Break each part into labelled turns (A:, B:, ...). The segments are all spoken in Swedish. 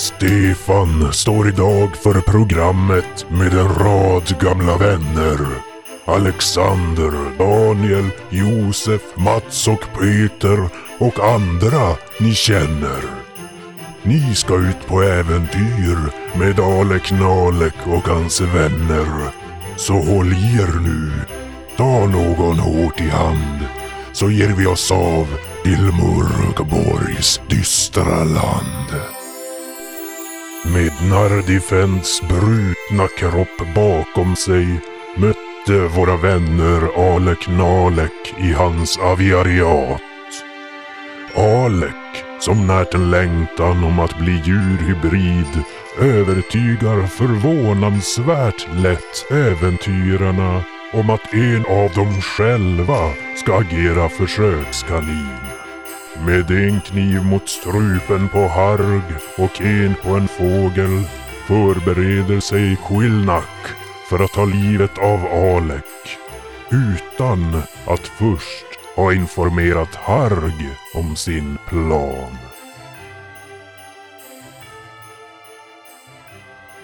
A: Stefan står idag för programmet med en rad gamla vänner. Alexander, Daniel, Josef, Mats och Peter och andra ni känner. Ni ska ut på äventyr med Ale Knalek och hans vänner. Så håll i er nu. Ta någon hårt i hand. Så ger vi oss av till Mörkborgs dystra land. Med Nardifens brutna kropp bakom sig mötte våra vänner Alek Nalek i hans aviariat. Alek, som närt en längtan om att bli djurhybrid, övertygar förvånansvärt lätt äventyrarna om att en av dem själva ska agera försökskanin. Med en kniv mot strupen på Harg och en på en fågel förbereder sig Quillnack för att ta livet av Alek. Utan att först ha informerat Harg om sin plan.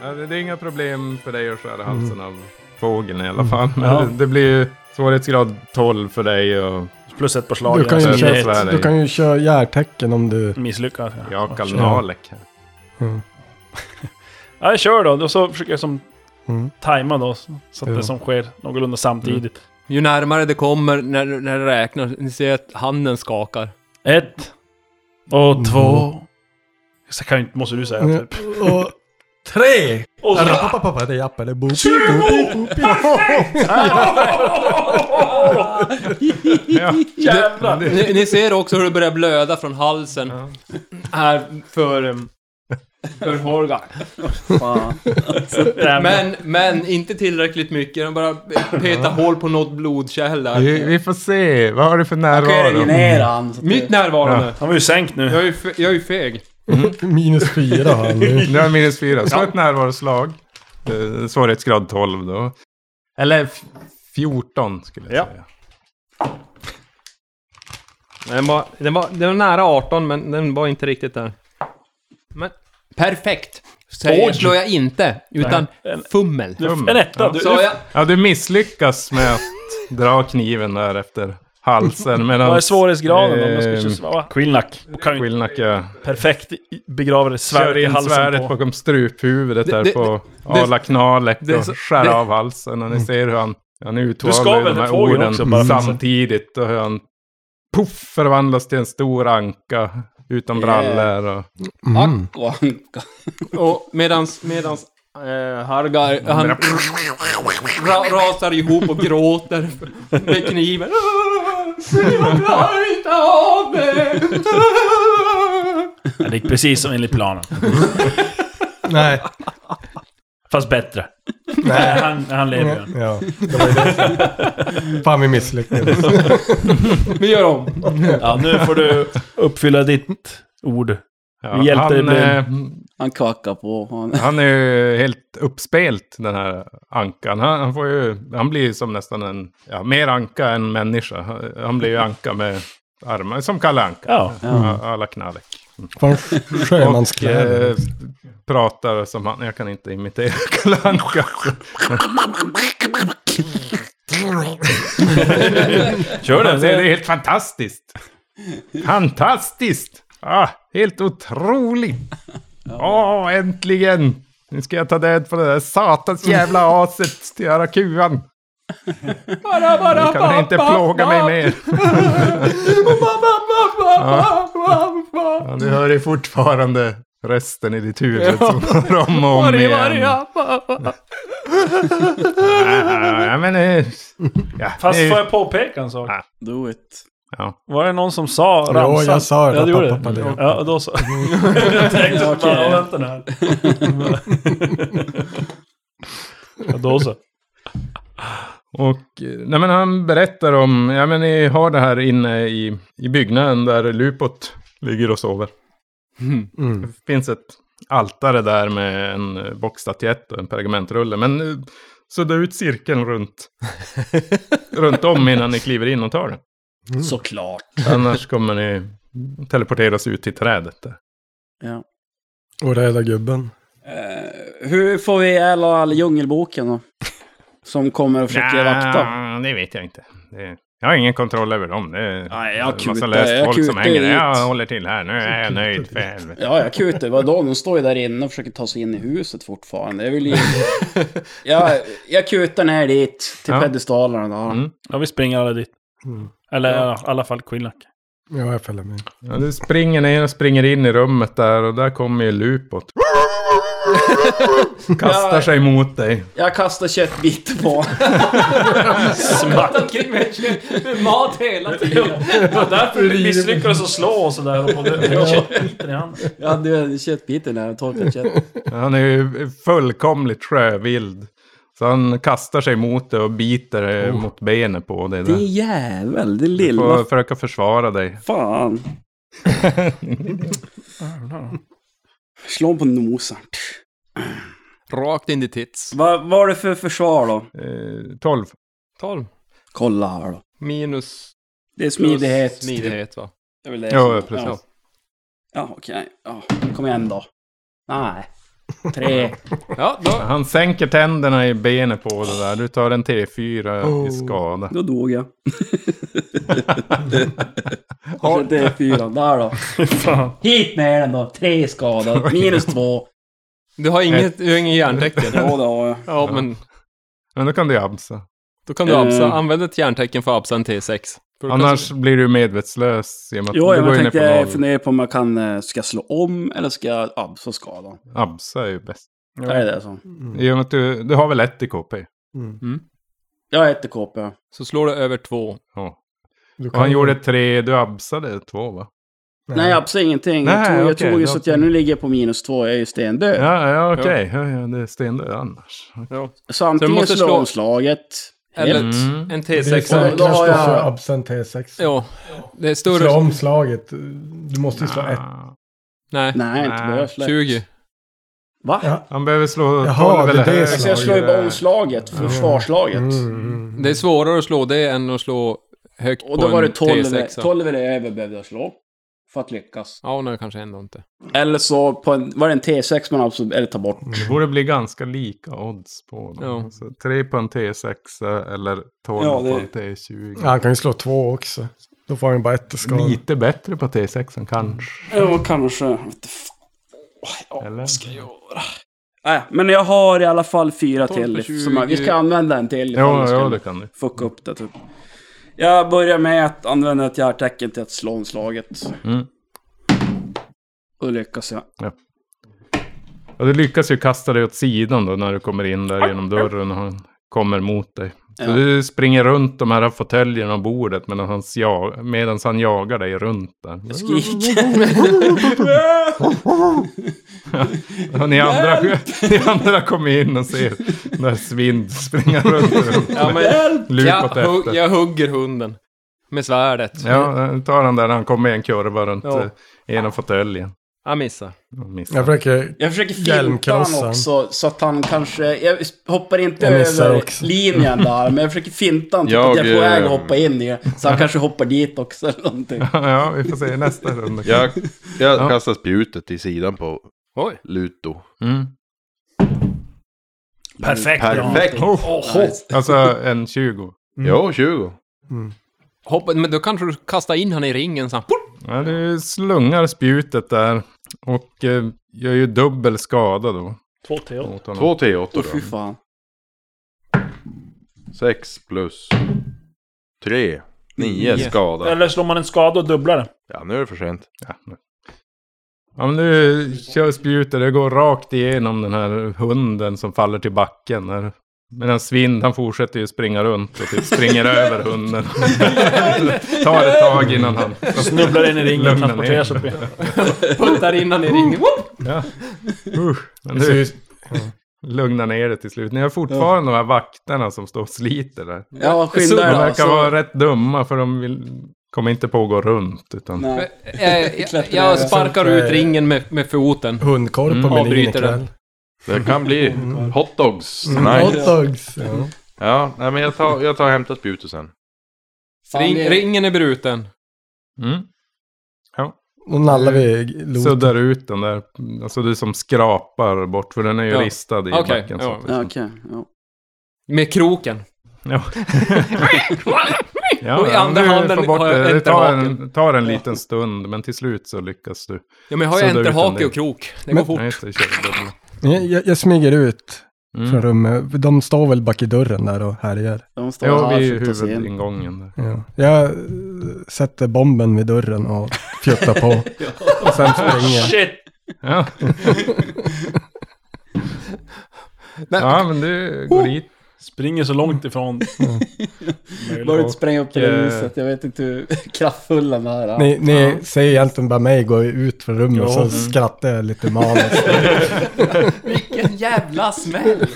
B: Ja, det, det är inga problem för dig att skära halsen av fågeln i alla
C: Mm.
B: fall. Men
C: Ja.
B: det, det blir ju svårighetsgrad 12 för dig och
D: Plus ett Alltså, på
C: Du
D: slagen.
C: kan, ju
B: jag
D: så
B: känner
C: köra,
B: Sverige.
C: du kan ju köra järtecken om du...
D: misslyckas. Ja.
B: Jakal
C: kör.
B: Nalek.
C: Mm.
D: ja, jag kör då. Och så försöker jag som
C: Mm.
D: tajma då. Så att
C: Ja.
D: det som sker någorlunda samtidigt.
E: Ju närmare det kommer när, när det räknar, ni ser att handen skakar.
D: Ett. Och
C: Mm.
D: två. Så kan ju inte, måste du säga typ.
C: Och... Tre!
D: Och så,
C: Rapapapapa, det är Jappe, det är Bopi, Bopi, Bopi.
B: Ja.
D: jävlar!
E: Ni, ni ser också hur det börjar blöda från halsen.
B: Ja.
E: Här för... em, För Horga.
F: Fan.
D: Jävlar.
E: Men, men inte tillräckligt mycket. De bara petar hål på något blodkärl
G: Vi,
E: där.
G: vi får se. Vad har du för närvaro?
F: ner han. så att
E: Mitt
F: det-
E: närvarande.
D: Han var ju sänkt nu.
E: Jag är ju fe- jag är ju feg.
C: Minus fyra har han nu.
G: Du har minus fyra. Slå ett närvaroslag. Eh, Svårighetsgrad 12 då. Eller f- 14 skulle jag
D: Ja.
G: säga.
E: Den var, den, var, den var nära 18, men den var inte riktigt där. Men... Perfekt! Säger,
D: Oj.
E: slår jag inte, utan
D: En-
E: fummel.
D: Du,
G: Dum.
D: en etta.
G: Ja.
D: Du,
E: Så jag,
G: Ja, du misslyckas med att dra kniven där efter halsen. Medan
D: vad är svårighetsgraden om man ska
G: Ehm,
D: köra Quillnack. Kan ju
G: Quillnack eh,
D: perfekt i- begrava det svärdet
G: kör
D: i
G: in svärdet
D: halsen på.
G: bakom struphuvudet
E: Det-
G: där
E: det-
G: på
E: det-
G: Ala Knalek
E: det-
G: och skär
E: det-
G: av halsen. Och ni ser hur han, han
D: Du
G: uttalar
D: skaver
G: de
D: den
G: här
D: fågeln
G: orden
D: också, bara för att-
G: samtidigt. Och hur han puff, förvandlas till en stor anka utan
F: Yeah.
G: brallor. Och,
C: Mm.
F: Anka.
E: och medans, medans eh, Hargar, han ra, rasar ihop och gråter med kniven. Jag klarar inte av det!
D: Ja, Det gick precis som enligt planen.
C: Nej.
D: Fast bättre. Nej,
C: Nej.
D: han, han lever ju.
C: Ja, det var ju det. Fan, vi misslyckades.
E: Vi gör om.
D: Ja, nu får du uppfylla ditt ord.
G: ja,
D: Vi hjälpte
G: han,
D: dig.
G: eh,
F: Han kvackar på. Han,
G: han är ju helt uppspelt den här ankan. Han, han, får ju, han blir som nästan en, ja, mer anka än människa. Han- Han blir ju anka med armar, som Kalle Anka.
D: Ja.
G: Ja, Alla Knalek.
C: Fan,
G: Och
C: sjömanskläder.
G: eh, pratar som han, jag kan inte imitera Kalle Anka.
D: Kör
G: Han säger,
D: den.
G: Det är helt fantastiskt. Fantastiskt! Ah, helt otroligt! Åh, äntligen! Nu ska jag ta död på det där satans jävla aset till arakuan.
E: Bara, bara,
G: Nu kan ni inte plåga mig mer. Ja, du hör ju fortfarande rösten i ditt huvud som går om och om
E: Maria,
G: igen.
E: Maria, pappa.
G: Ja, men... eh, Ja,
D: Fast
G: det-
D: får jag påpeka en sak?
G: Ja.
F: do it.
G: ja.
D: Var det någon som sa
C: Jo,
D: ramsan?
C: jag sa
D: Ja,
C: det.
D: du gjorde
C: Pappa, Mm.
D: det.
C: det.
D: Ja, då så. jag tänkte
F: Ja, okej.
D: bara, vänta nu här. ja, då så.
G: Och eh, nej, men han berättar om, ja men ni har det här inne i, i byggnaden där Lupot ligger och sover.
C: Mm.
G: Det finns ett altare där med en eh, bockstatyett och en pergamentrulle. Men eh, sudda ut cirkeln runt, runt om innan ni kliver in och tar den.
F: Såklart.
G: Annars kommer ni teleporteras ut till trädet där.
F: Ja.
C: Och rädda gubben.
F: Eh, hur får vi ihjäl all djungelboken då? Som kommer och försöker vakta.
G: Nja, det vet jag inte. Det, jag har ingen kontroll över dem. Det är
F: Nej,
G: en
F: jag
G: massa
F: kutar-
G: löst
F: jag
G: folk som
F: kutar
G: hänger där.
F: dit.
G: Jag håller till här. Nu är jag nöjd för helvete.
F: Ja, jag kutar. Vadå? De står ju där inne och försöker ta sig in i huset fortfarande. Jag vill ju... jag, jag kutar ner dit, till
G: Ja.
F: pedestalerna då.
G: Mm.
D: Ja, vi springer alla dit.
C: Mm.
D: Eller ja. i alla fall Quinlack.
C: Ja, jag följer med.
G: Ja, du springer ner och springer in i rummet där och där kommer ju Lupot. Kastar sig mot dig.
F: Jag kastar köttbitar på
E: Smatt omkring mig med mat hela tiden.
D: Det var därför du misslyckades att slå och sådär. Och både köttbiten i handen.
F: Jag hade ju en köttbit i den här, torkat kött.
G: Han är ju fullkomligt sjövild. Så han kastar sig mot dig och biter dig mot benet på dig.
F: Det
G: Där.
F: jävel, det
G: Du får
F: lilla
G: försöka försvara dig.
F: fan. Slå honom på nosen.
E: Rakt in i tits.
F: Vad var det för försvar då?
G: Eh, 12.
E: 12.
F: Kolla här då.
E: Minus...
F: Det är
E: plus
F: smidighet.
E: Smidighet va?
F: Det är väl det
G: Ja,
F: som-
G: ja, precis.
F: Ja, ja okej. Ja, kom igen då. Nej. Tre.
E: Ja, då.
G: Han sänker tänderna i benet på dig där. Du tar en T4 i skada.
F: Då dog jag. Och det är fyran. Där då.
D: Fan.
F: Hit med den då. Tre skadad. Minus två.
E: Du har inget, du har ingen järntecken.
F: Ja, det har jag.
E: Ja, men
G: Men då kan du absa.
E: då kan du absa.
F: Eh.
E: Använd ett järntecken för att absa en T6. För då kan
G: Annars blir du medvetslös i och med att
F: Jo,
G: du
F: jag
G: går in
F: tänkte jag
G: på noll.
F: funderar på om jag kan... eh, Ska jag slå om eller ska jag absa skadan?
G: Absa är ju bäst.
F: Det är det så.
C: Mm.
G: I och med att du, du har väl ett i KP?
F: Jag heter KP.
E: Så slår du över två.
G: Ja.
C: Du
G: Och han gjorde tre, du absade två va?
F: Nej, absolut ingenting.
G: Nej,
F: jag tog, jag
G: okej,
F: tog ju
G: då-
F: så att jag nu ligger jag på minus två. Jag är ju stendöd.
G: Ja, ja okej. Ja. Ja, det är stendöd annars.
F: Så
E: Så du
F: antingen
E: måste
F: slå
E: slå-
F: om slaget.
E: Eller
F: Eller...
G: Mm.
E: en
C: Det är
E: T6.
C: säkrast
F: Då har
C: att
F: jag-
C: köra absent T6.
E: Ja, det är
C: Slå
E: större...
C: om slaget. Du måste ju slå ett.
G: Ah.
E: Nej,
F: Nej, inte
G: Nej,
F: behövs lätt.
E: 20.
F: Va?
C: Ja.
G: Han behöver slå
C: Jaha,
G: tolv
C: det är
G: eller
C: det
G: högre.
F: Alltså jag slår ju bara om slaget. Försvarslaget.
C: Mm.
E: Det är svårare att slå det än att slå högt
F: Och
E: på
F: då var det
E: en
F: 12,
E: T6.
F: 12 eller över behövde jag slå. För att lyckas.
E: Ja, nej, kanske ändå inte.
F: Eller så på en, var det en T6 man absolut, eller ta bort.
G: Det borde bli ganska lika odds på dem.
E: Ja.
G: Alltså, tre på en T6 eller tolv
F: Ja, det-
G: på en T20.
C: Ja, han kan ju slå två också. Då får han ju bara ett i skada.
G: Lite bättre på T6 än kanske.
F: Ja, kanske. Vet
G: Eller?
F: Nej, Äh, men jag har i alla fall fyra
E: 12 på
F: till. Som jag, vi
E: 20.
F: ska använda en till. ifall
G: Jo,
F: vi ska
G: ja, det kan du.
F: Fucka upp det typ. Jag börjar med att använda ett hjärtecken till att slå om slaget.
G: Mm.
F: Och lyckas jag.
G: Ja, du lyckas ju kasta dig åt sidan då när du kommer in där genom dörren och han kommer mot dig. Så
F: Ja.
G: du springer runt de här fåtöljerna och bordet medan han, ja, medan han jagar dig runt där.
F: Jag skriker.
G: Och ni andra, ni andra kommer in och ser när Svind springer runt. runt.
E: Ja, men jag,
G: Lupot
E: hu-
G: efter.
E: jag hugger hunden. Med svärdet.
G: Ja, nu tar han där när han kommer i en kurva runt
E: Ja.
G: ja. ena fåtöljen.
E: Jag missar.
G: Och missar.
C: Jag försöker...
F: Jag försöker finta
C: Hjälmkrossan.
F: honom också så att han kanske... Jag hoppar inte
C: Jag missar
F: över
C: också.
F: linjen där, men jag försöker finta honom. Typ
H: Jag,
F: att jag är på
H: eh,
F: väg att hoppa in i det. Så han kanske hoppar dit också eller någonting.
G: Ja, vi får se i nästa runda.
H: Jag, jag
G: Ja.
H: kastar spjutet i sidan på
E: Oj.
H: Luto.
G: Mm.
D: Perfekt.
H: Perfekt!
G: Alltså en 20.
H: Jo, 20.
E: Hoppa, men då kanske du kastar in han i ringen så han...
G: Ja, du slungar spjutet där och eh, gör ju dubbel skada då.
D: Två till.
G: Mot honom.
H: Två T8
F: Åh fy
H: då.
F: fan.
H: Sex plus tre. Nio
E: Nio.
H: skada.
D: Eller slår man en skada och dubblar den.
H: Ja, nu är det för sent.
G: Ja, men- ja, men du kör spjutet, det går rakt igenom den här hunden som faller till backen. Där. Medan Svind, han fortsätter ju springa runt och typ springer över hunden. Tar ett tag innan han...
D: Snubblar in i ringen och
G: Lugna
D: transporterar
G: ner.
D: sig upp igen.
E: Puttar in han i ringen. Whoop!
G: Ja. Usch. Men
C: Det ser
G: du
C: ut-
G: lugnar ner det till slut. Ni har fortfarande de här vakterna som står och sliter där.
F: Ja, skynda
G: De
F: er alltså. då.
G: verkar
F: Så-
G: vara rätt dumma för de vill... kommer inte på att gå runt. Utan...
F: Nej.
E: Eh, Jag, jag, jag sparkar ut ringen med, med foten.
C: Hundkorv på
G: Mm,
C: menyn
E: avbryter
C: ikväll.
H: Det kan bli hotdogs.
C: Mm. Hot
H: Nice.
C: dogs. Ja.
H: Ja, nej, men jag tar, jag tar och hämtar spjutet sen.
F: Fan,
E: Ring,
F: det-
E: ringen är bruten.
G: Mm. Ja.
C: Då nallar vi loten.
G: Suddar ut den där, alltså du som skrapar bort, för den är ju
E: Ja.
G: ristad i
E: Okej,
G: backen.
E: ja.
G: Så. att
F: Ja,
G: liksom-
F: Okej, ja.
E: Med kroken.
G: Ja. ja,
E: Och i andra
G: nu
E: handen
G: får bort
E: har jag
G: det. Det tar
E: enterhaken.
G: en, tar en liten stund, men till slut så lyckas du.
E: Ja men jag har ju
G: Sudda ut en
E: enterhake
G: del.
E: och krok. Det
C: Men-
E: går fort.
G: Nej, just det, kör du dubbla.
C: Jag, jag, jag smyger ut från
G: Mm.
C: rummet. De står väl bak i dörren där och härjar.
F: De står
G: Ja,
F: här
G: vi är
F: för att ta sig in.
G: huvudingången där.
C: Ja. Jag eh, sätter bomben vid dörren och fjuttar på. Och sen springer jag.
D: Shit!
G: Ja. ja, men du går dit.
D: Springer så långt ifrån.
C: Mm.
F: Börjat spränga upp det där
G: eh,
F: huset, jag vet inte hur kraftfulla de här är.
C: Ni, ni säger egentligen bara mig gå ut från rummet och så skrattar jag lite maniskt.
E: Vilken jävla smäll!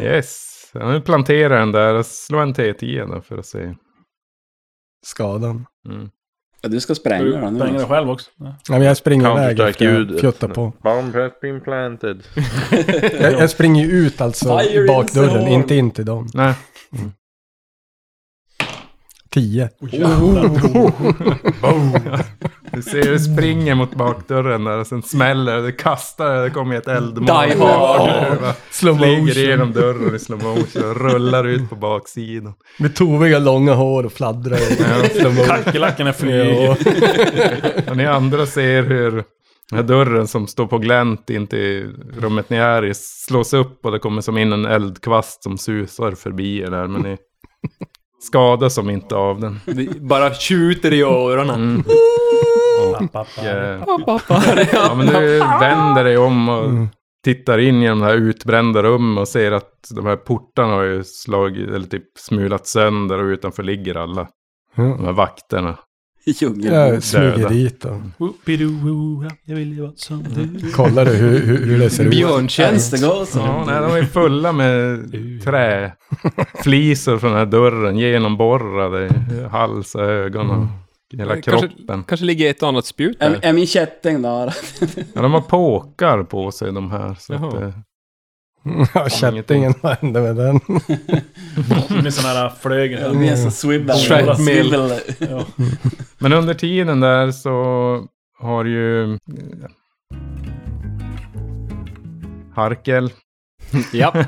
G: Yes. Ja, nu planterar jag den där. Slå en T10 då för att se.
C: Skadan.
G: Mm.
F: Ja, du ska spränga den nu.
D: Spränga dig
F: alltså.
D: själv också.
C: Nej, men jag springer iväg efter jag
H: Counter-strike-ljudet.
C: fjuttar på.
H: Bomb has been planted.
C: Jag, jag springer ju ut alltså
F: Fire in the
C: bakdörren,
F: hole.
C: inte in till dem.
G: Nej.
C: Tio.
G: Du ser hur det springer mot bakdörren där och sen smäller det, det. kastar det, det kommer ett eldmål.
E: Die Hard.
G: Det
C: Slow
G: Flyger
C: motion.
G: igenom dörren i slow motion och rullar ut på baksidan.
C: Med toviga långa hår och fladdrar. i slow motion.
D: Kackerlackorna flyger.
C: Ja.
G: Och ni andra ser hur den här dörren som står på glänt in till rummet ni är i slås upp och det kommer som in en eldkvast som susar förbi er där. Men ni skadas som inte av den. Mm.
E: Det bara tjuter i öronen.
G: Och, eh, ja, men du vänder dig om och
C: Mm.
G: tittar in genom det här utbrända rummet och ser att de här portarna har ju slagit, eller typ smulat sönder och utanför ligger alla de
C: Ja.
G: här vakterna.
F: I djungeln.
C: Jag smyger
G: Döda.
C: dit och
D: Whoopidoo, Jag vill leva som du.
C: kollar hur, hur, hur det ser ut.
E: Björntjänst.
F: Det går så.
G: Ja, nej, de är fulla med träflisor från den här dörren, genomborrade i hals och ögon och hela
E: Kanske-
G: kroppen.
E: Kanske ligger ett och annat spjut
F: Är,
E: där.
F: är min kätting där?
G: Ja, de har påkar på sig de här. Så att,
E: Jaha.
G: eh,
C: Ja, kättingen, vad hände med den?
D: Med sån här äh, flögen.
F: De är så swibble.
E: Shrapnel.
F: Swibble.
G: men under tiden där så har ju eh, Harkel
E: Ja.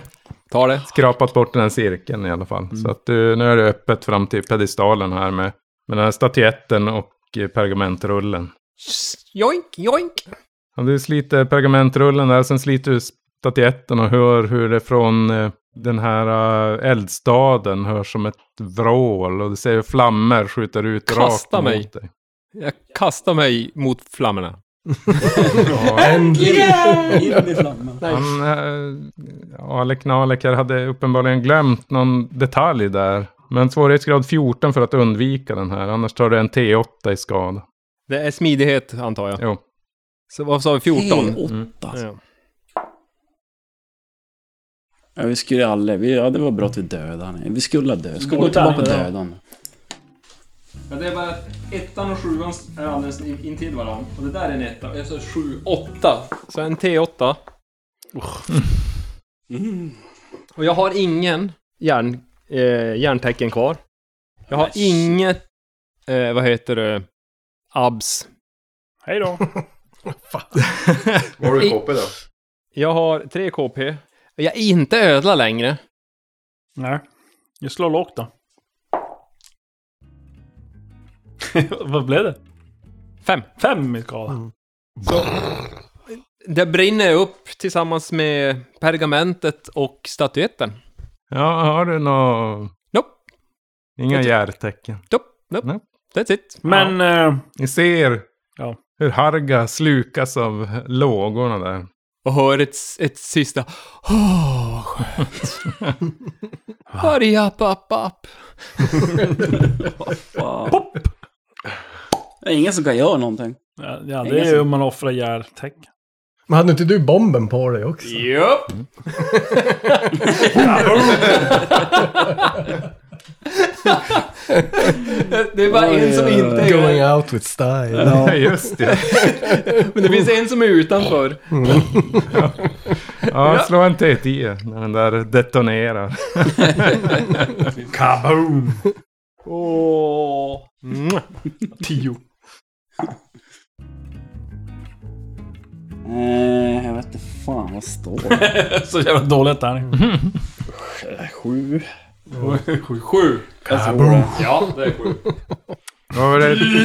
E: Ta det.
G: skrapat bort den här cirkeln i alla fall. Så att du, nu är det öppet fram till pedestalen här med, med den här statyetten och eh, pergamentrullen.
E: Joink, joink.
G: Ja, du sliter pergamentrullen där, sen sliter du statyetten och hör hur det från eh, den här eh, eldstaden hörs som ett vrål och du ser hur flammor skjuter ut
E: Kasta
G: rakt
E: mig.
G: mot dig.
E: Jag kastar mig mot flammorna.
F: In i flamman.
G: Han, eh, Alek Naleker hade uppenbarligen glömt någon detalj där. Men svårighetsgrad 14 för att undvika den här, annars tar du en T8 i skada.
E: Det är smidighet antar jag.
G: Jo.
E: Så vad sa vi? 14?
F: alltså.
E: Ja.
F: Ja, vi skulle ju aldrig... Vi, ja, det var bra att vi dödade han. Vi skulle ha dödat. Ska gå
D: Gå
F: tillbaka och
D: tärning, ja.
F: döda honom.
E: Ja, det är bara att ettan och sjuan är alldeles in- intill varandra. Och det där är en etta. Och jag sa sju, åtta. Så en T8.
F: Mm.
E: Och jag har ingen järn, eh, järntecken kvar. Jag har inget, eh, vad heter det, abs.
D: Hej då.
H: Var du KP då?
E: Jag har tre KP. Jag är inte ödla längre.
D: Nej. Jag slår lågt då. Vad blev det?
E: Fem.
D: Fem i skada.
E: Det brinner upp tillsammans med pergamentet och statyetten.
G: Ja, har du nå...
E: Nope.
G: Inga hjärtecken?
E: Nope, nope.
G: Nope.
E: That's it.
D: Men... eh,
G: Ni ser
D: Ja.
G: hur Harga slukas av lågorna där.
E: Och hör ett, ett sista... Åh, vad skönt. Hurry up, up, up.
F: Det är ingen som kan göra någonting.
D: ja, ja, det
F: Ingen
D: är
F: som-
D: ju om man offrar järntäck.
C: Men hade inte du bomben på dig också?
E: Japp. det är bara en som inte är
C: Going out with style.
G: Ja, just det.
E: Men det finns en som är utanför.
C: Mm.
G: Ja, slå en T10 när den där detonerar.
D: Kaboom! Åh! Tio.
F: Eh, jag vet inte fan vad står det?
D: Så jävla dåligt där.
F: Sju?
E: Sju. Sju.
F: Jag tror det.
E: Ja, det är sju.
G: Vad var det?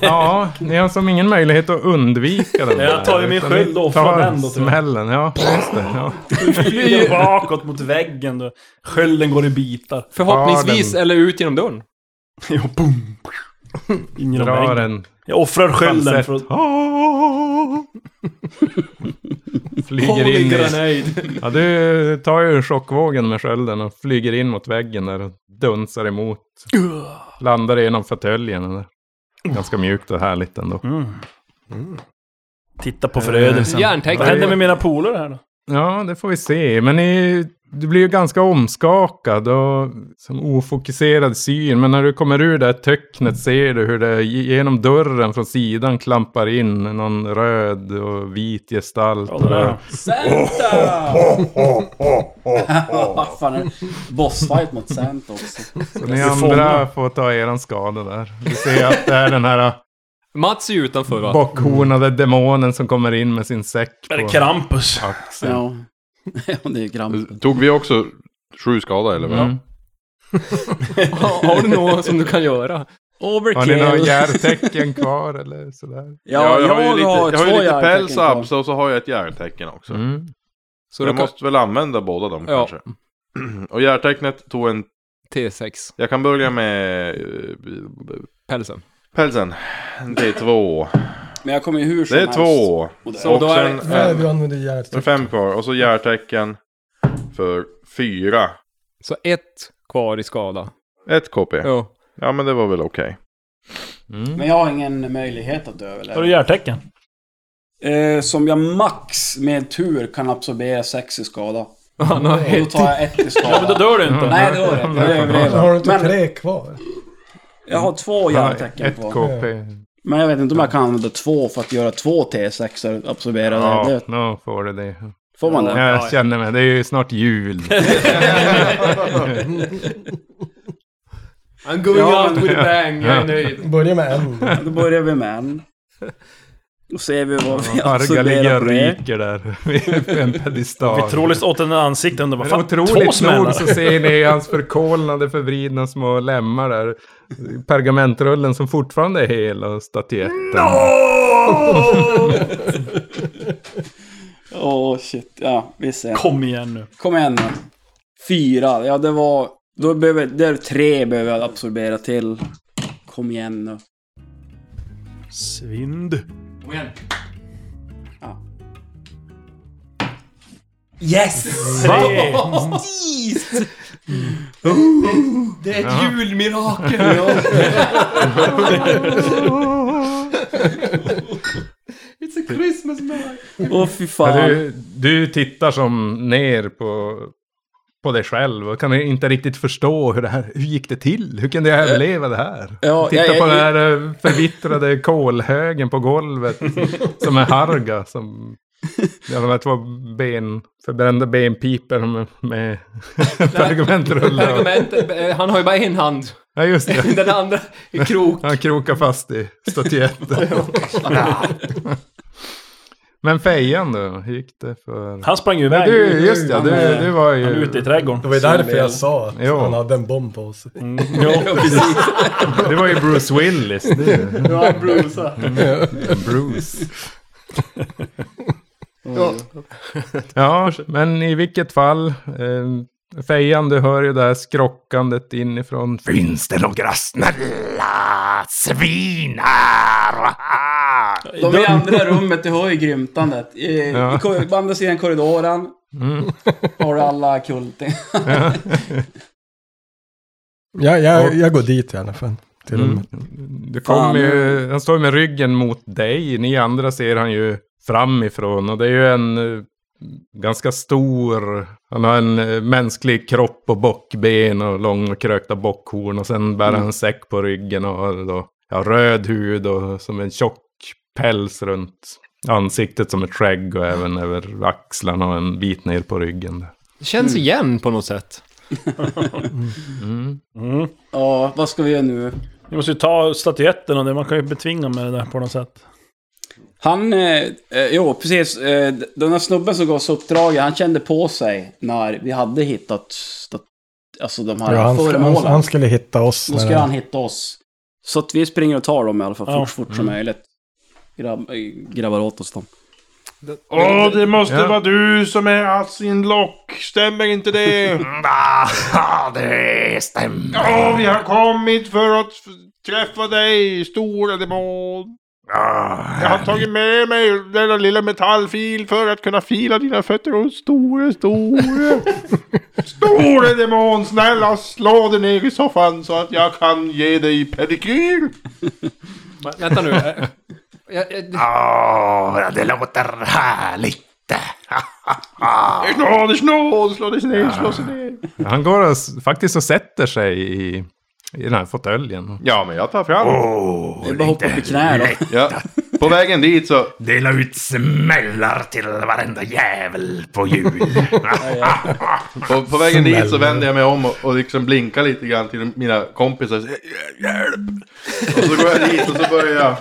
G: Ja, ni har som ingen möjlighet att undvika den.
D: Jag tar ju min
G: utan
D: skyld
G: ni
D: och offrar
G: tar
D: den då, tror jag.
G: smällen, ja. Just det. Ja.
D: Flyger bakåt mot väggen. då. Skölden går i bitar.
E: Förhoppningsvis, eller ut genom dörren.
D: Ingen av
G: Dra
D: väggen.
G: den.
D: Jag offrar skölden för att...
G: Flyger in i...
E: grenade.
G: Ja, du tar ju chockvågen med skölden och flyger in mot väggen där och dunsar emot. Landar genom fåtöljen. där. Ganska mjukt och härligt ändå.
D: Titta på förödelsen.
E: Järntecken.
D: Eh, Vad händer med mina polare här då?
G: Ja, det får vi se. Men ni, du blir ju ganska omskakad och som ofokuserad syn. Men när du kommer ur det här töcknet ser du hur det genom dörren från sidan klampar in någon röd och vit gestalt.
D: Ja, det där.
F: Santa! Vad fan är det? Bossfight mot Santa också.
G: Så ni andra får ta er skada där. Du ser att det är den här
E: Mats är ju utanför va?
G: bockhornade demonen som kommer in med sin säck
D: Är det
G: på
D: Krampus?
G: axeln.
F: Ja. ja, det är Grampus.
I: Tog vi också sju skada eller? vad?
G: Mm.
E: Har har du något som du kan göra?
G: Har ni några
F: Overkill.
G: järtecken kvar eller sådär?
F: Ja, jag,
I: har ju lite,
F: har
I: jag har ju
F: två
I: lite
F: järntecken
I: päls
F: kvar.
I: abs och så har jag ett järntecken också.
G: Mm.
E: Så du
I: jag
E: kan...
I: måste väl använda båda dem
E: Ja.
I: kanske. Och järntecknet tog en...
E: T6.
I: Jag kan börja med eh,
E: Pälsen.
I: pälsen. Det är två.
F: Men jag kommer ju hur som
I: Det är
F: helst.
I: två.
F: Och det-
E: Så
I: och
E: då är
I: sen
E: det-
C: Nej,
I: en,
C: du använder järn.
I: en fem kvar. Och så järntecken för fyra.
E: Så ett kvar i skada.
I: Ett KP.
E: Ja.
I: Ja men det var väl okej.
G: Mm.
F: Men jag har ingen möjlighet att
D: Har du
F: överleva.
D: hjärtecken?
F: Eh, som jag max med tur kan absorbera sex i skada.
E: Han har
F: Och då tar jag ett i skada.
D: Ja, men då dör du inte.
F: Nej, det var det. Jag
C: Då har du
F: överlever.
C: inte
F: Men
C: tre kvar.
F: jag har två järntecken
G: Ett
F: kvar.
G: KP.
F: Men jag vet inte om jag kan använda två för att göra två T6 och absorbera det.
G: Ja,
F: det.
G: nu får du det.
F: Får man det?
G: Jag känner mig, det är ju snart jul.
E: I'm going
F: Ja,
E: out
F: men-
E: with a bang, jag är nöjd.
C: Börja med en.
F: Då börjar vi med en. Då ser vi vad vi
G: Arga ligger
F: absorberar på det.
G: ryker där vid en pedestal.
D: Vitrolis åt den i ansiktet under vad
G: Men
D: fan, två
G: otroligt
D: smällar?
G: nog så ser ni hans förkolnade, förvridna små lemmar där. Pergamentrullen som fortfarande är hel och statyetten.
F: Åh shit, ja vi ser.
D: Kom igen nu.
F: Kom igen nu. Fyra, ja det var... Då behöver, det är tre behöver jag absorbera till. Kom igen nu.
D: Svind.
E: Kom igen.
D: Tre.
E: Det är ett julmirakel! It's a Christmas night!
F: Åh fy
G: Ja,
F: fan.
G: Du, du tittar som ner på, på dig själv och kan inte riktigt förstå hur det här, hur gick det till? Hur kunde jag överleva det här?
F: Ja,
G: Titta
F: jag- jag-
G: på den här eh, förvittrade kolhögen på golvet som är Harga som... Ja, de här två ben, förbrända benpipor med, med pergamentrullar.
E: Pergamentet, eh, han har ju bara en hand.
G: Ja, just det.
E: Den andra är krok.
G: Han krokar fast i statyetten. Men fejan då, hur gick det för...
D: Han sprang ju iväg.
G: Du, just ja, du, du var ju...
D: Han är ute i
C: Det
D: trädgården.
C: var ju därför jag sa att
G: Ja.
C: han hade en bomb på sig.
G: Det var ju Bruce Willis. Det.
D: Ja, Bruce.
G: Bruce. ja, men i vilket fall. Eh, Fejan, du hör ju det här skrockandet inifrån. Finns det några snälla svinar?
F: De i andra rummet, du hör ju grymtandet. I,
G: Ja. Mm.
F: i kor- på andra sidan korridoren har du alla kulting.
C: Jag, jag, jag går dit i alla fall. Till
G: Mm.
C: rummet.
G: Det
F: Fan.
G: kom ju, han står ju med ryggen mot dig. Ni andra ser han ju framifrån. Och det är ju en eh, ganska stor... Han har en eh, mänsklig kropp och bockben och lång och krökta bockhorn. Och sen bär han en säck på ryggen och har då, ja, röd hud och som en tjock päls runt ansiktet som ett skägg. Och även över axlarna och en bit ner på ryggen. där.
E: Känns
F: Mm.
E: igen på något sätt.
F: Ja, vad ska vi göra nu?
D: Vi måste ju ta statyetten och det. Man kan ju betvinga med det där på något sätt.
F: Han, eh, eh, jo precis, eh, d- den här snubben som gav oss uppdraget, han kände på sig när vi hade hittat stat- alltså de här
C: Ja, han, sk-
F: föremålen.
C: han, han skulle hitta oss.
F: Då
C: när
F: ska
C: den-
F: han hitta oss. Så att vi springer och tar dem i alla fall,
D: Ja.
F: fort, fort
C: Mm.
F: som möjligt. Grab, eh, grabbar åt oss dem.
H: Åh, det måste
G: Ja.
H: vara du som är Assinlock. Stämmer inte det?
G: det stämmer.
H: Åh, vi har kommit för att f- träffa dig, stora demon. Jag har tagit med mig denna lilla metallfil för att kunna fila dina fötter. Och store, store, store demon, snälla slå dig ner i soffan så att jag kan ge dig pedikyr.
E: Men Vänta nu. eh, Jag, jag, det-
G: det låter härligt.
H: Slå dig, slå, slå dig ner, slå sig ner.
G: Han går och, s- faktiskt och sätter sig i, i den här fåtöljen.
I: Ja, men jag tar fram.
F: Det är bara att hoppa upp i knä då.
I: Ja. På vägen dit så...
G: Dela ut smällar till varenda jävel på jul.
I: På, på vägen dit så vänder jag mig om och, och liksom blinkar lite grann till mina kompisar. Så, "Hj- Hjälp! Och så går jag dit och så börjar jag...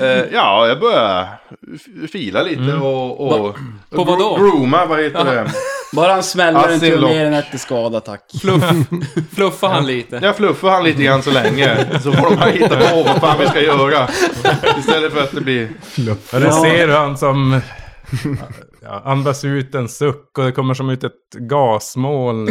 I: Eh, ja, jag börjar f- fila lite
G: Mm.
I: och... och
E: på vad
I: gro-
E: då?
I: Grooma, vad heter det?
F: Bara han smäller en tur
I: Assinlock.
F: mer än ett i skada, tack.
E: fluff, fluffar han lite.
I: Jag fluffar han lite grann så länge. Så får de bara hitta på vad fan vi ska göra. Istället för att det blir...
G: Eller ser du han som... Ja, andas ut en suck och det kommer som ut ett gasmoln.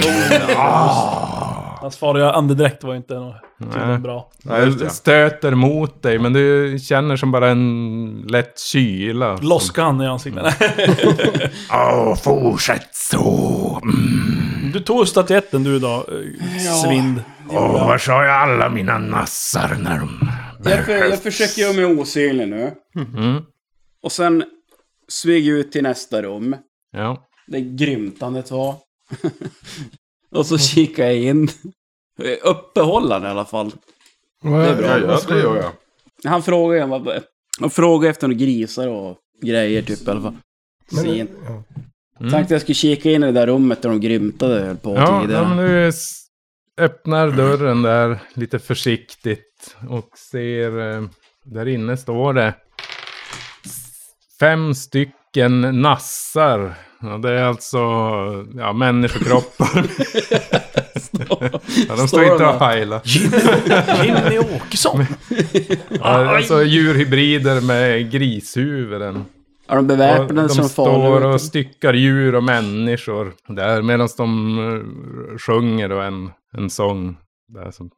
D: Hans farliga andedräkt var ju inte något tydligen bra.
I: Nej, just det.
G: Det stöter mot dig men du känner som bara en lätt kyla.
D: Loska han i ansiktet. Nej.
G: Åh, fortsätt så. Mm.
D: Du tog statyetten du idag, eh, Svind.
G: Åh, var sa jag alla mina nassar när de...
F: Jag, för, jag försöker göra mig osynlig nu.
I: Mm.
G: Mm,
F: Och sen smyger jag ut till nästa rum.
G: Ja.
F: Det är grymtandet var. och så kikar jag in. Uppehållaren i alla fall.
C: Vad-
F: Det är bra.
I: Ja, ja, det gör jag.
F: Han frågar ju vad- han frågar efter några grisar och grejer typ i alla fall. Sen.
C: ja.
F: Tänkte jag skulle kika in i det där rummet där de grymtade höll på
G: Mm. Ja,
F: tidigare.
G: ja, men du s- öppnar dörren där lite försiktigt och ser... eh, Där inne står det s- fem stycken nassar. Ja, det är alltså ja, människokroppar. ja, de
F: står
G: står inte
F: de
G: och heilar.
D: Jimmy Åkesson!
G: Ja, alltså djurhybrider med grishuvuden.
F: Är
G: Ja,
F: de beväpnade
G: de
F: som
G: står
F: farliga?
G: och styckar djur och människor där medan de eh, sjunger då en, en sång. Där som...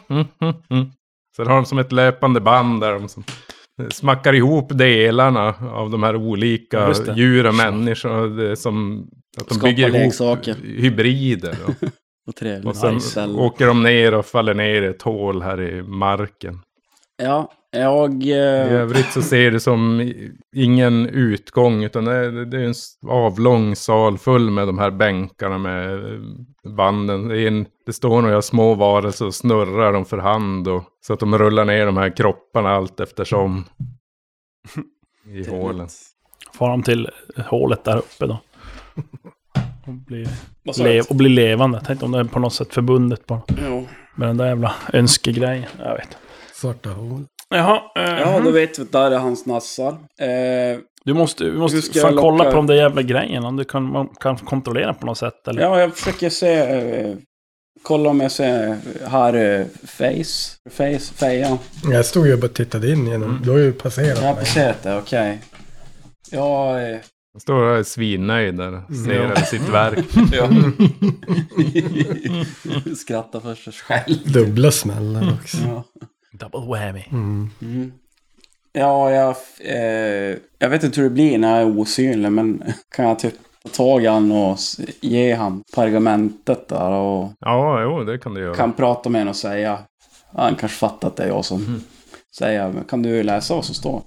G: Så har de som ett löpande band där de som smackar ihop delarna av de här olika
D: Just det.
G: djur och människor. eh, Det är som att de
F: Skapar
G: bygger ihop
F: leksaker.
G: hybrider. Då.
F: Vad trevligt.
G: Och sen
F: Nice.
G: åker de ner och faller ner i ett hål här i marken.
F: Ja, jag...
G: I
F: Eh,
G: övrigt så ser det som i- ingen utgång utan det är, det är en s- avlång sal full med de här bänkarna med eh, banden. Det, är en, det står några små varelser och snurrar dem för hand och, så att de rullar ner de här kropparna allt eftersom. I hålen.
D: Far han till hålet där uppe då. Och blir,
F: vad sa
D: lev,
F: du?
D: och blir levande. Tänkte om det är på något sätt förbundet på
F: Jo.
D: med den där jävla önskegrejen. Jag vet.
C: Svarta hål.
D: Jaha. eh,
F: Ja, då vet vi att där är hans nassar. Eh,
D: Du måste, vi
F: Hur
D: måste
F: ska
D: fan
F: jag
D: kolla
F: locka-
D: på de där jävla grejerna. Om du kan, man kan kontrollera på något sätt. Eller?
F: ja, jag försöker se... Eh, kolla om jag ser eh, här eh, face. Face, feja.
C: Jag stod ju och bara tittade in genom.
E: Mm.
C: Du har ju passerat
F: Jag har
C: mig.
F: sett det, okej. Ja, eh,
G: De står här svinnöjd där och ser över sitt verk.
F: skrattar för sig själv.
C: Dubbla
E: Mm.
C: smällar också.
F: Ja.
D: Double whammy.
C: Mm.
F: Mm. Ja, jag, eh, jag vet inte hur det blir när jag är osynlig, men kan jag typ ta tag i han och s- ge han pergamentet där och
G: Ja, jo, det kan du göra.
F: kan prata med honom och säga. ja, Han kanske fattar att det är jag som säger, men kan du läsa vad som står?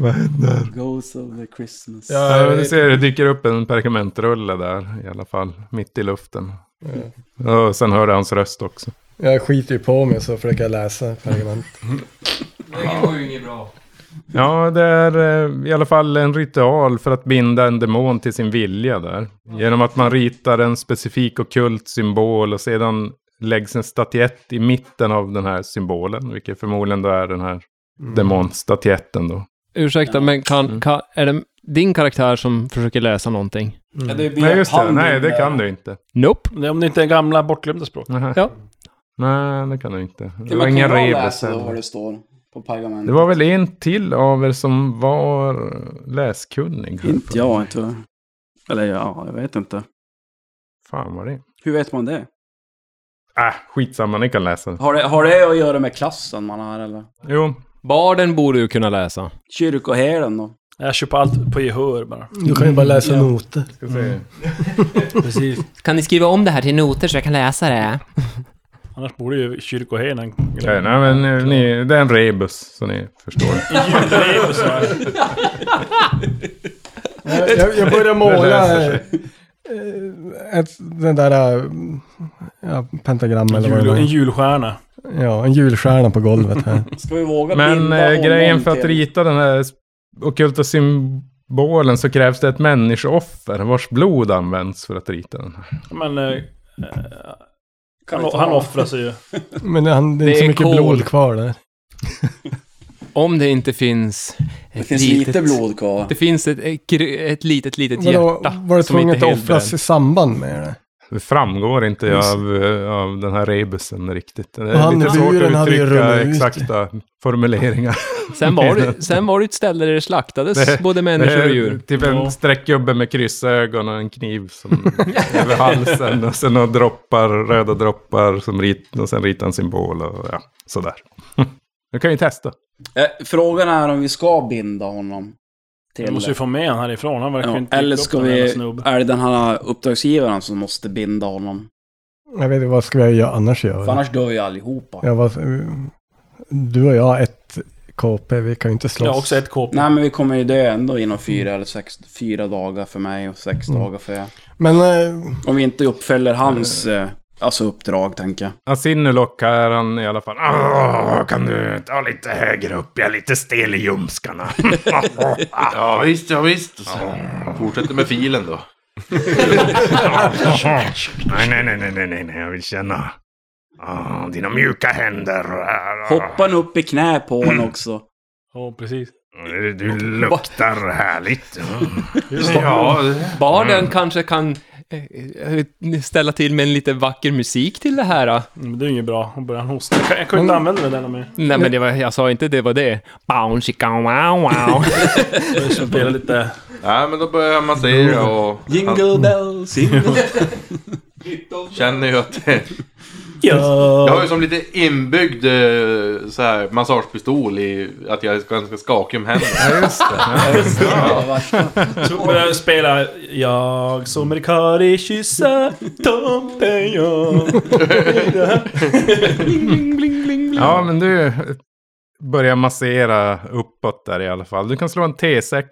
G: Vad händer?
F: Ghost of the Christmas.
G: Ja, du ser det dyker upp en pergamentrulle där i alla fall. Mitt i luften. Ja, Och sen hör du hans röst också.
C: Jag skiter ju på mig så försöker jag läsa pergament.
E: Det går ju inget bra.
G: Ja, det är eh, i alla fall en ritual för att binda en demon till sin vilja där. Genom att man ritar en specifik ockult symbol och sedan läggs en statyett i mitten av den här symbolen. Vilket förmodligen då är den här
F: Mm.
G: demonstatyetten då.
E: Ursäkta, men kan, kan, är det din karaktär som försöker läsa någonting?
F: Ja, mm. det blir
G: Nej, just det.
F: handen
G: Nej, det
F: där.
G: kan du inte.
E: Nope.
D: Det är om det inte är gamla bortglömda språk.
G: Nähä.
E: Ja.
G: Nej, det kan du inte. Det
F: Det
G: var
F: man kan
G: ingen
F: bra
G: rebus.
F: läsa då
G: heller.
F: vad det står på pergamentet.
G: Det var väl en till av er som var läskunnig? här
F: Inte
G: för-
F: jag, tyvärr. Eller ja, jag vet inte.
G: Fan var det?
F: Hur vet man det?
G: Äh, skitsamma, ni kan läsa det.
F: Har det, har det att göra med klassen man har eller?
G: Jo,
E: Barden borde ju kunna läsa.
F: Kyrkoherden då?
D: Jag köper allt på gehör bara.
C: Du kan ju bara läsa noter.
G: ska se.
D: Precis.
E: Kan ni skriva om det här till noter så jag kan läsa det?
D: Annars borde ju kyrkoherden...
G: Ja, nej, men eh, ni, det är en rebus, så ni förstår.
C: Jag, jag börjar
G: Det
C: måla
G: löser
C: eh, ett, den där eh, ja, pentagram eller vad det
D: En
C: var.
D: julstjärna.
C: Ja, en julstjärna på golvet här.
F: Ska vi våga
G: Men
F: binda
G: eh,
F: honom
G: grejen för att
F: till-
G: rita den här ockulta symbolen så krävs det ett människooffer vars blod används för att rita den. här.
D: Men... Eh, eh,
F: Kan
D: han,
F: vi ta-
D: han offrar sig ju.
C: Men han, det är
E: Det
C: inte
E: är
C: så mycket
E: kol.
C: blod kvar där.
E: Om det inte finns...
F: Det finns lite blod kvar.
E: Det finns ett, ett, kry- ett litet, litet
C: Vadå,
E: hjärta.
C: var det
E: som inte
C: tvunget att
E: helt
C: offras i
E: bränt.
C: samband med det?
G: Det framgår inte
C: Yes.
G: av, eh, av den här rebusen riktigt. Det
C: Och
G: är
C: han
G: lite svårt
C: buren
G: att
C: hade ju
G: uttrycka
C: runnit ut.
G: exakta formuleringar.
E: Sen var, det, sen var det ett ställe där det slaktades
G: Det-
E: både människor och djur.
G: Typ en streckgubbe med kryssögon och en kniv som över halsen. Och sen några droppar, röda droppar som rit, och sen ritar en symbol och ja, sådär. Du kan ju testa.
F: Eh, Frågan är om vi ska binda honom.
D: Vi
F: Till
D: måste ju få med honom härifrån. Han verkar ju
F: ja,
D: inte
F: eller
D: dyka upp
F: ska
D: någon
F: vi...
D: jävla snubb.
F: Är det den här uppdragsgivaren som måste binda honom?
C: Jag vet inte, vad ska jag göra, annars
F: För
C: göra?
F: annars dör ju allihopa.
C: Jag var, du och jag ett KP, vi kan ju inte slåss.
D: Jag har också ett KP.
F: Nej men vi kommer ju dö ändå inom fyra eller sex, fyra dagar för mig och sex
C: Mm.
F: dagar för er.
C: Men eh,
F: Om vi inte uppfyller hans eh, alltså uppdrag tänker jag.
G: Asinulok är han i alla fall. "Åh, Kan du ta lite högre upp? Jag är lite stel i ljumskarna.
I: Ja visst, ja visst. Så. Fortsätter med filen då.
G: nej, nej, nej, nej, nej, nej, nej, jag vill känna. Ah, dina mjuka händer.
F: Hoppa nu upp i knä på
C: Mm.
F: honom också.
D: Ja, precis.
G: Du luktar härligt.
I: Ja, det-
E: Barden kanske kan eh, eh, ställa till med en lite vacker musik till det här. eh.
D: Men det är ju inget bra. Hon börjar hosta. Jag kan, jag kan ju inte
C: Mm.
D: använda den där mer.
E: Nej men det var, jag sa inte det var det. Bow, chicka, wow, wow.
D: Jag ska spela lite...
I: Nej, men då börjar man se och... Han
F: Mm. Jingle bells, jingle
I: känner ju att det... Jag har
D: Ja.
I: ju som lite inbyggd eh, så här, massagepistol i att jag är ganska skakig om händerna.
F: bells. Ja, värsta.
D: Så börjar jag spela... Jag som Rikari kyssa tomten jag.
G: Ja, men du börjar massera uppåt där i alla fall. Du kan slå en T6.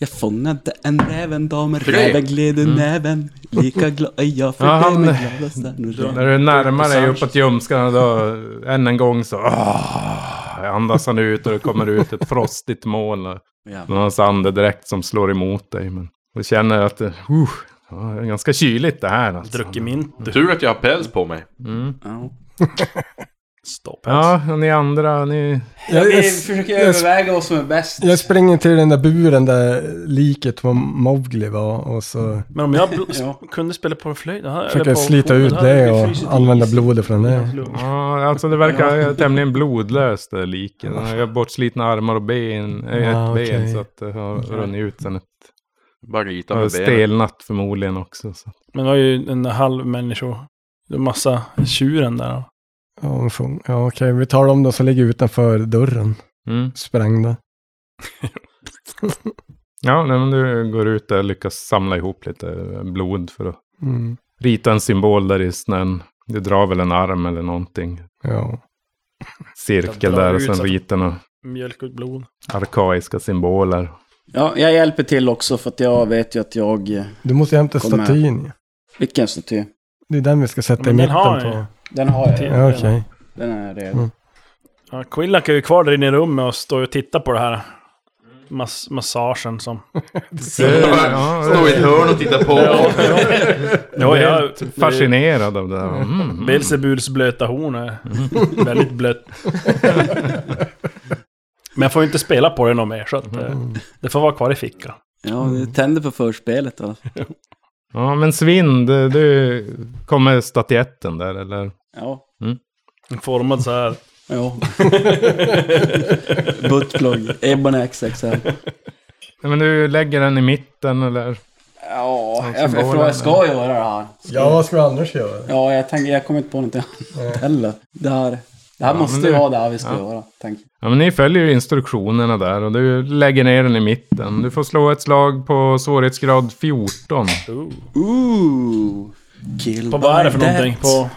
F: Jag fångade en rävendam,
I: Tre.
F: räven gled ur
C: Mm.
F: näven. Lika glad är jag för
G: Ja,
F: det
G: han-
F: med glada stjärnor.
G: När du närmar dig uppåt ljumskarna då, än en gång så ah, andas han ut och det kommer ut ett frostigt moln. och
F: Ja.
G: Någon hans andedräkt som slår emot dig. Men du känner att det, uh, ja, det är ganska kyligt det här. Alltså.
D: Druckit mint.
I: Tur att jag har päls på mig.
G: Mm.
F: Ja.
D: Stopp.
G: Ja, och ni andra, ni...
C: jag, jag,
F: Vi försöker
C: jag-
F: överväga vad som är bäst.
C: jag springer till den där buren där liket var Mowgli var och så
D: Men om jag bl-
F: Ja.
D: kunde spela på en flöjt... det här-
C: försöker
D: eller
C: jag
D: på-
C: slita
D: på-
C: ut
D: här hade
C: det
D: vi
C: och
D: frusit i
C: använda
D: is.
C: blodet från det.
G: Ja, alltså det verkar tämligen blodlöst det liken. Han har bortslitna armar och ben, äh,
C: Ah,
G: ett ben
C: okej.
G: så att det har runnit ut sen. Ett,
I: Bara rita
G: har
I: med benen.
G: stelnat förmodligen också. Så.
D: Men det var ju en halv människa. Det var massa tjuren där.
C: Ja, hon sjung- ja okej, vi tar dem då som ligger utanför dörren.
G: Mm.
C: Sprängda.
G: Ja, nej, men du går ut där och lyckas samla ihop lite eh, blod för att
C: Mm.
G: rita en symbol där i snön. Du drar väl en arm eller någonting.
C: Ja.
G: Cirkel
D: Jag drar
G: där och
D: ut
G: sen
D: så att-
G: ritar några
D: Mjölk och blod.
G: arkaiska symboler.
F: Ja, jag hjälper till också för att jag vet ju att jag... eh,
C: Du måste ju hämta
F: Kom med.
C: statyn. ju.
F: Vilken staty?
C: Det är den vi ska sätta
D: Men
C: i
D: den
C: mitten
D: har
C: på.
D: jag
F: Den har jag.
C: Ja, okej.
F: Den är redo.
C: Mm.
D: Ja, Quillack är ju kvar där inne i rummet och står och tittar på det här. Mas massagen som...
I: Står i ett hörn och tittar på.
D: Ja, jag...
G: Fascinerad av det där. Mm.
D: Belzebuls blöta horn är väldigt blött. Men jag får ju inte spela på det någon mer så att eh, det får vara kvar i fickan.
F: Ja, det tänder på förspelet då.
G: Ja, men Svind, du kommer statyetten där eller?
F: Ja.
D: Formad så här.
F: Ja. Buttplug. Ebon XXL.
G: Nej, men du lägger den i mitten eller?
F: Ja, jag, jag, jag ska göra det här.
C: Ja, vad ska vi annars göra?
F: Ja, jag tänker, jag kommer inte på något annat heller. Det här, det här måste
G: men
F: ju
G: det-
F: vara det här vi ska göra. Tänk.
G: Ja, men ni följer ju instruktionerna där och du lägger ner den i mitten. Du får slå ett slag på svårighetsgrad 14.
F: Ooh! Kill
D: På
F: by
D: vad är det för
F: death.
D: någonting? På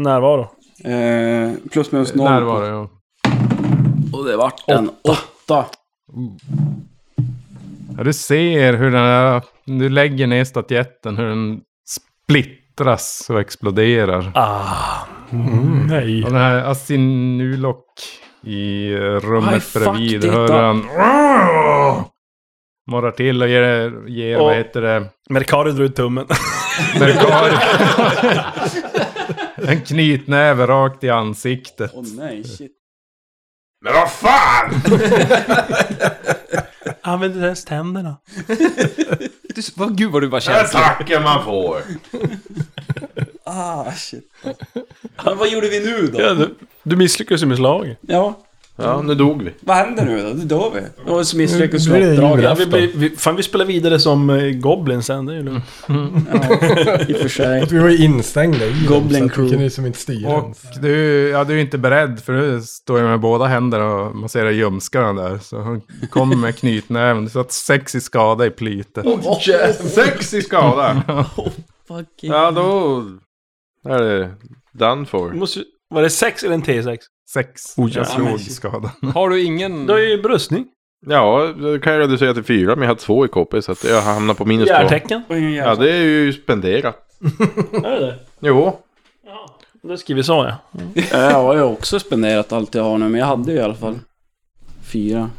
D: närvaro?
F: Eh, plus minus noll.
G: Där var det ja.
F: Och det vart en åtta.
G: ja. Du ser hur den här, du lägger ner statyetten, hur den splittras och exploderar.
D: Ah. Nej.
G: Och den här Asinulok i eh, rummet
F: Aj, fuck,
G: bredvid
F: titta.
G: hör han... "Åh!" Morrar till och ger, ger
D: Åh.
G: vad heter det,
D: Mercari drar ut tummen.
G: Merkar. en knytnäve rakt i ansiktet.
F: Åh nej, shit.
H: Men vad fan!
D: Använder ens tänderna.
E: Du, vad, gud vad du var
I: Där
E: känslig.
I: tacken man får.
F: Ah, shit. Men vad gjorde vi nu då?
D: Ja, du, du misslyckas ju med slaget.
F: Ja,
I: Ja, nu dog vi.
F: vad händer nu då? Nu dör vi. Det var ett misslyckat
C: Nu blir det
F: uppdrag.
D: Ja, vi, blir- vi, fan, vi spelar vidare som eh, Goblin sen, det är ju lugnt.
F: Ja, i och för sig.
C: Att vi var ju instängda i dem,
F: Goblin
C: så att
F: crew.
C: vi kunde ju som inte styra
G: Och
C: ens.
G: du, ja, du är inte beredd för du står ju med båda händerna och masserar ljumskarna där. Så han kommer med knytnäven. Du satt sex i skada i plytet.
I: Sex i skada.
F: Fucking...
I: Ja, då... Där är det done for.
D: Du måste, ju- var det 6 eller en T6?
G: Sex.
D: Oh,
G: jag
D: ja,
G: slog
F: men-
G: skadan.
E: Har du ingen...
D: Du har ju bröstning.
I: Ja, då kan jag reducera till fyra, men jag har två i KP, så att jag hamnar på minus två.
D: Järtecken.
F: Och ingen
I: Ja,
E: alltså.
F: jävla...
I: det är ju spenderat.
D: Är det det?
I: Jo.
D: Det skriver så ja.
F: Ja, Jag har ju också spenderat allt jag har nu, men jag hade ju i alla fall fyra.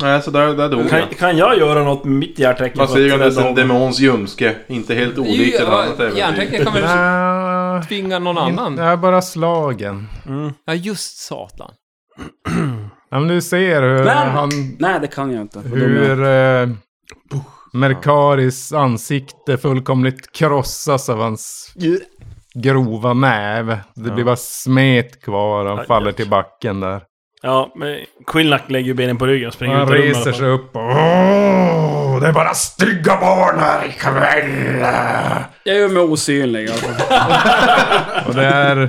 I: Nej, så där, där dog
D: Kan,
I: jag.
D: kan jag göra något med mitt järtecken?
I: Man
D: för att
I: ser ju att det är
D: rädda
I: en
D: honom?
I: demons ljumske. Inte helt
E: Det är ju-
I: olikt ett annat
E: ja,
I: äventyr.
E: Järntecken kan väl
G: Nej,
E: tvinga någon annan?
G: Nej, bara slagen.
D: Mm.
E: Ja, just satan.
G: Ja, men du ser hur
F: Men-
G: han...
F: Nej, det kan jag inte. Vad dum jag är.
G: Hur... Eh, Merkaris ansikte fullkomligt krossas av hans grova näve. Det blir bara smet kvar. Han
D: Aj,
G: faller
D: aj.
G: till backen där.
D: Ja, men Quillack lägger ju benen på ryggen och springer
G: Han
D: ut ur rummet i alla
G: reser
D: fall.
G: sig upp och... Åh, det är bara stygga barn här ikväll!
F: Jag gör mig osynlig i alla fall.
G: Och det är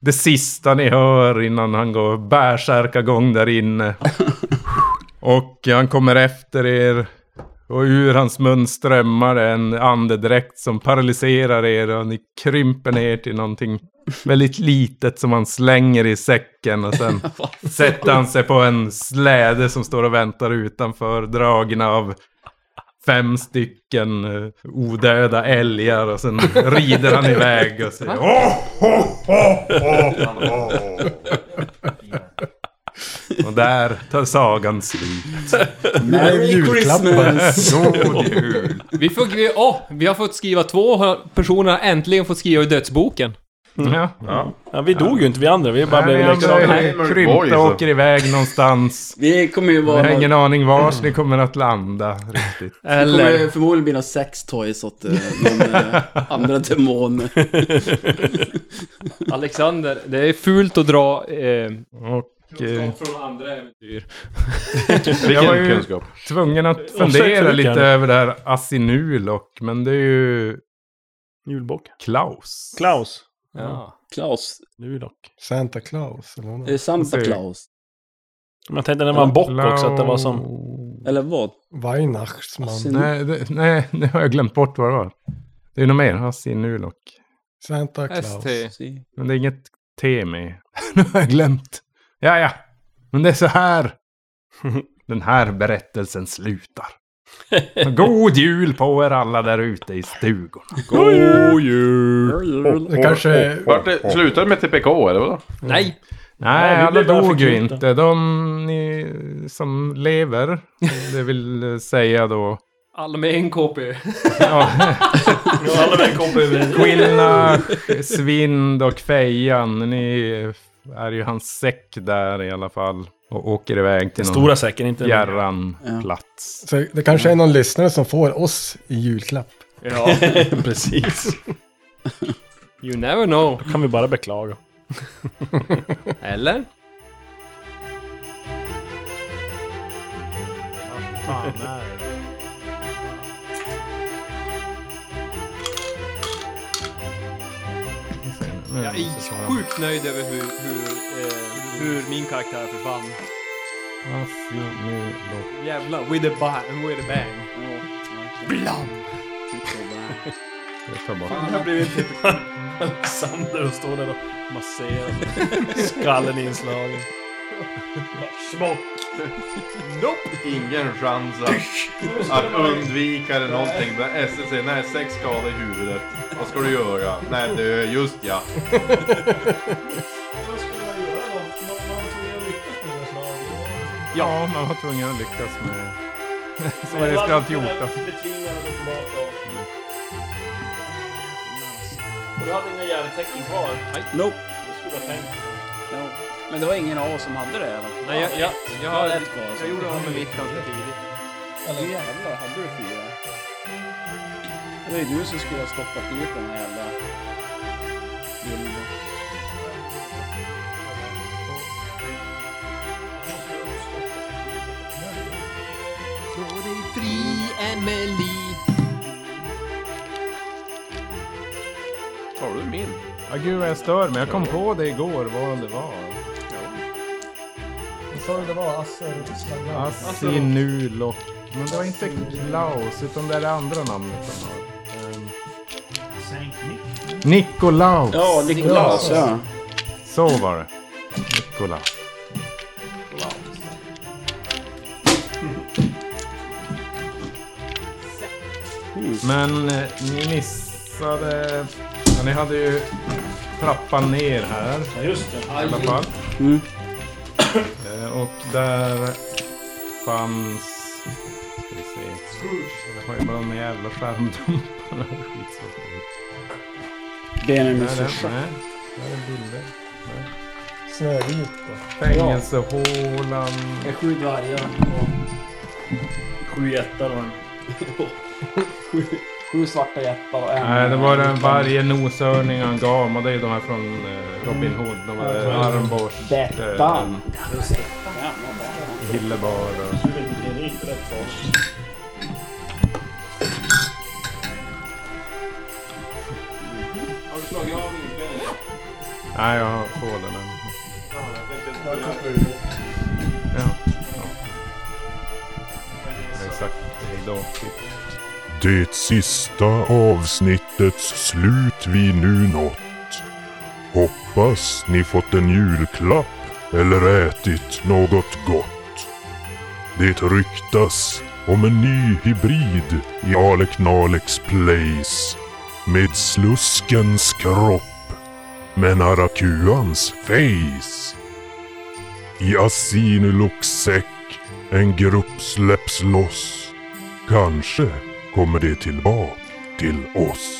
G: det sista ni hör innan han går bärsärkagång där inne. Och han kommer efter er. Och ur hans mun strömmar det en andedräkt som paralyserar er och ni krymper ner till någonting väldigt litet som han slänger i säcken och sen sätter han sig på en släde som står och väntar utanför dragna av fem stycken eh, odöda älgar och sen rider han iväg och säger oh, ho, ho, ho, ho. Och där tar sagan slut.
F: Merry
C: julklappar.
F: Christmas!
G: God jul!
E: Vi, får, vi, åh, vi har fått skriva två personer har äntligen fått skriva i dödsboken.
G: Ja.
D: Ja, vi dog ju inte vi andra, vi bara
G: Nej,
D: blev
G: ni
D: leksaker.
G: andra
I: Nej, men det var ju
G: krympta
D: alltså.
I: så.
G: åker iväg någonstans.
F: Vi kommer ju
G: Jag
F: vara...
G: har ingen aning vars ni kommer att landa riktigt.
F: Det
E: Eller...
F: kommer förmodligen bli några sex toys åt eh, någon eh, andra demon.
E: Alexander, det är fult att dra... Eh,
G: Och, eh,
E: från andra äventyr.
G: jag var
I: Vilken
G: ju
I: kunskap.
G: tvungen att fundera
D: Offside-kyrkan.
G: lite över det här Asinulok, men det är ju
D: Julbock.
G: Klaus.
D: Klaus.
E: Ja.
F: Klaus.
D: Lulock.
C: Santa Claus eller
F: Är det
C: något.
F: Santa
G: Säg.
F: Klaus?
D: Men jag tänkte den var en bock också, att det var som...
F: Eller vad?
C: Weihnachtsman.
G: Nej, det, nej, nu har jag glömt bort vad det var. Det är nog mer, Asinulok.
C: Santa Claus.
E: ST.
G: Men det är inget T med. nu har jag glömt. Ja, ja. Men det är så här. Den här berättelsen slutar. God jul på er alla där ute i stugorna.
I: God jul!
C: Det kanske...
I: Vart det, slutade med TPK eller vadå?
E: Nej,
G: Nej,
D: vi
G: alla
D: blev bara
G: dog ju
D: förkylda.
G: inte. De ni, som lever, det vill säga då
E: Alla med en KP.
G: ja,
D: Ja, alla män kom på
G: Quilna, Svind och Fejan. Ni är ju hans säck där i alla fall. Och åker iväg till
D: Den
G: någon
D: stora säcken, inte den lilla.
G: fjärran
F: Ja.
G: plats.
C: Så det kanske är
F: Mm.
C: någon lyssnare som får oss i julklapp.
D: Ja, precis.
E: You never know.
D: Kan vi bara beklaga.
E: Eller? Jag är sjukt nöjd över hur, hur, eh, hur min karaktär försvann. Jävlar, with a bang. With a bang.
D: Han har blivit typ Alexander och står där och masserar. Skallen inslagen. Smock.
I: Ingen chans att, att undvika eller någonting. Men SS säger nej, sex skador i huvudet. Vad ska du göra? Nej, dö. Just ja.
G: Ja, man var tvungen att lyckas med Sverigesgrad 14.
D: Du hade inga järntecken kvar.
F: Nope.
D: Du skulle ha tänkt.
F: No. Men det var ingen av oss som hade det eller?
E: Nej, jag, jag, jag, har-
F: ett kvar.
E: jag gjorde av med mitt ganska tidigt.
F: Eller jävlar, hade du fyra? Det är du som skulle ha stoppat dit den här jävla... bilden.
I: Tar du min?
G: Ja, gud vad jag stör mig. Jag kom på det igår vad det var.
C: Vad sa du det var? Asser?
G: Asinulok. Men det var inte Klaus, utan det är det andra namnet han har. Ehm, Nikolaus.
F: Ja, Niklas ja.
G: Så var det. Nikolaus. Men eh, ni missade... Ja, ni hade ju trappan ner här
D: Ja, just det.
G: i alla fall.
F: Mm.
G: Eh, Och där fanns... Ska vi se. Jag har ju bara de jävla skärmdumparna. Skitsvårt.
F: Benjamin
G: Där är den.
F: Syrsa.
G: Nej, Där är bilder.
C: Snövit?
G: Fängelsehålan.
F: Jag skjuter vargar.
D: Sju jättar och en...
F: Sju svarta jättar och en...
G: Nej, det var den varje noshörning han gav mig. Det är ju de här från eh, Robin Hood. De var
D: Mm.
G: eh, armborst. eh,
F: Detta.
G: Hillebar och...
D: Du vet inte, det är inte rätt svar.
G: Nej, jag har koden än. Ja. ja. Exakt. Hej då.
A: Det sista avsnittets slut vi nu nått. Hoppas ni fått en julklapp eller ätit något gott. Det ryktas om en ny hybrid i Alec Nalex Place med sluskens kropp men arakuans face. I Asinuluks säck en grupp släpps loss Kanske kommer det tillbaka till oss.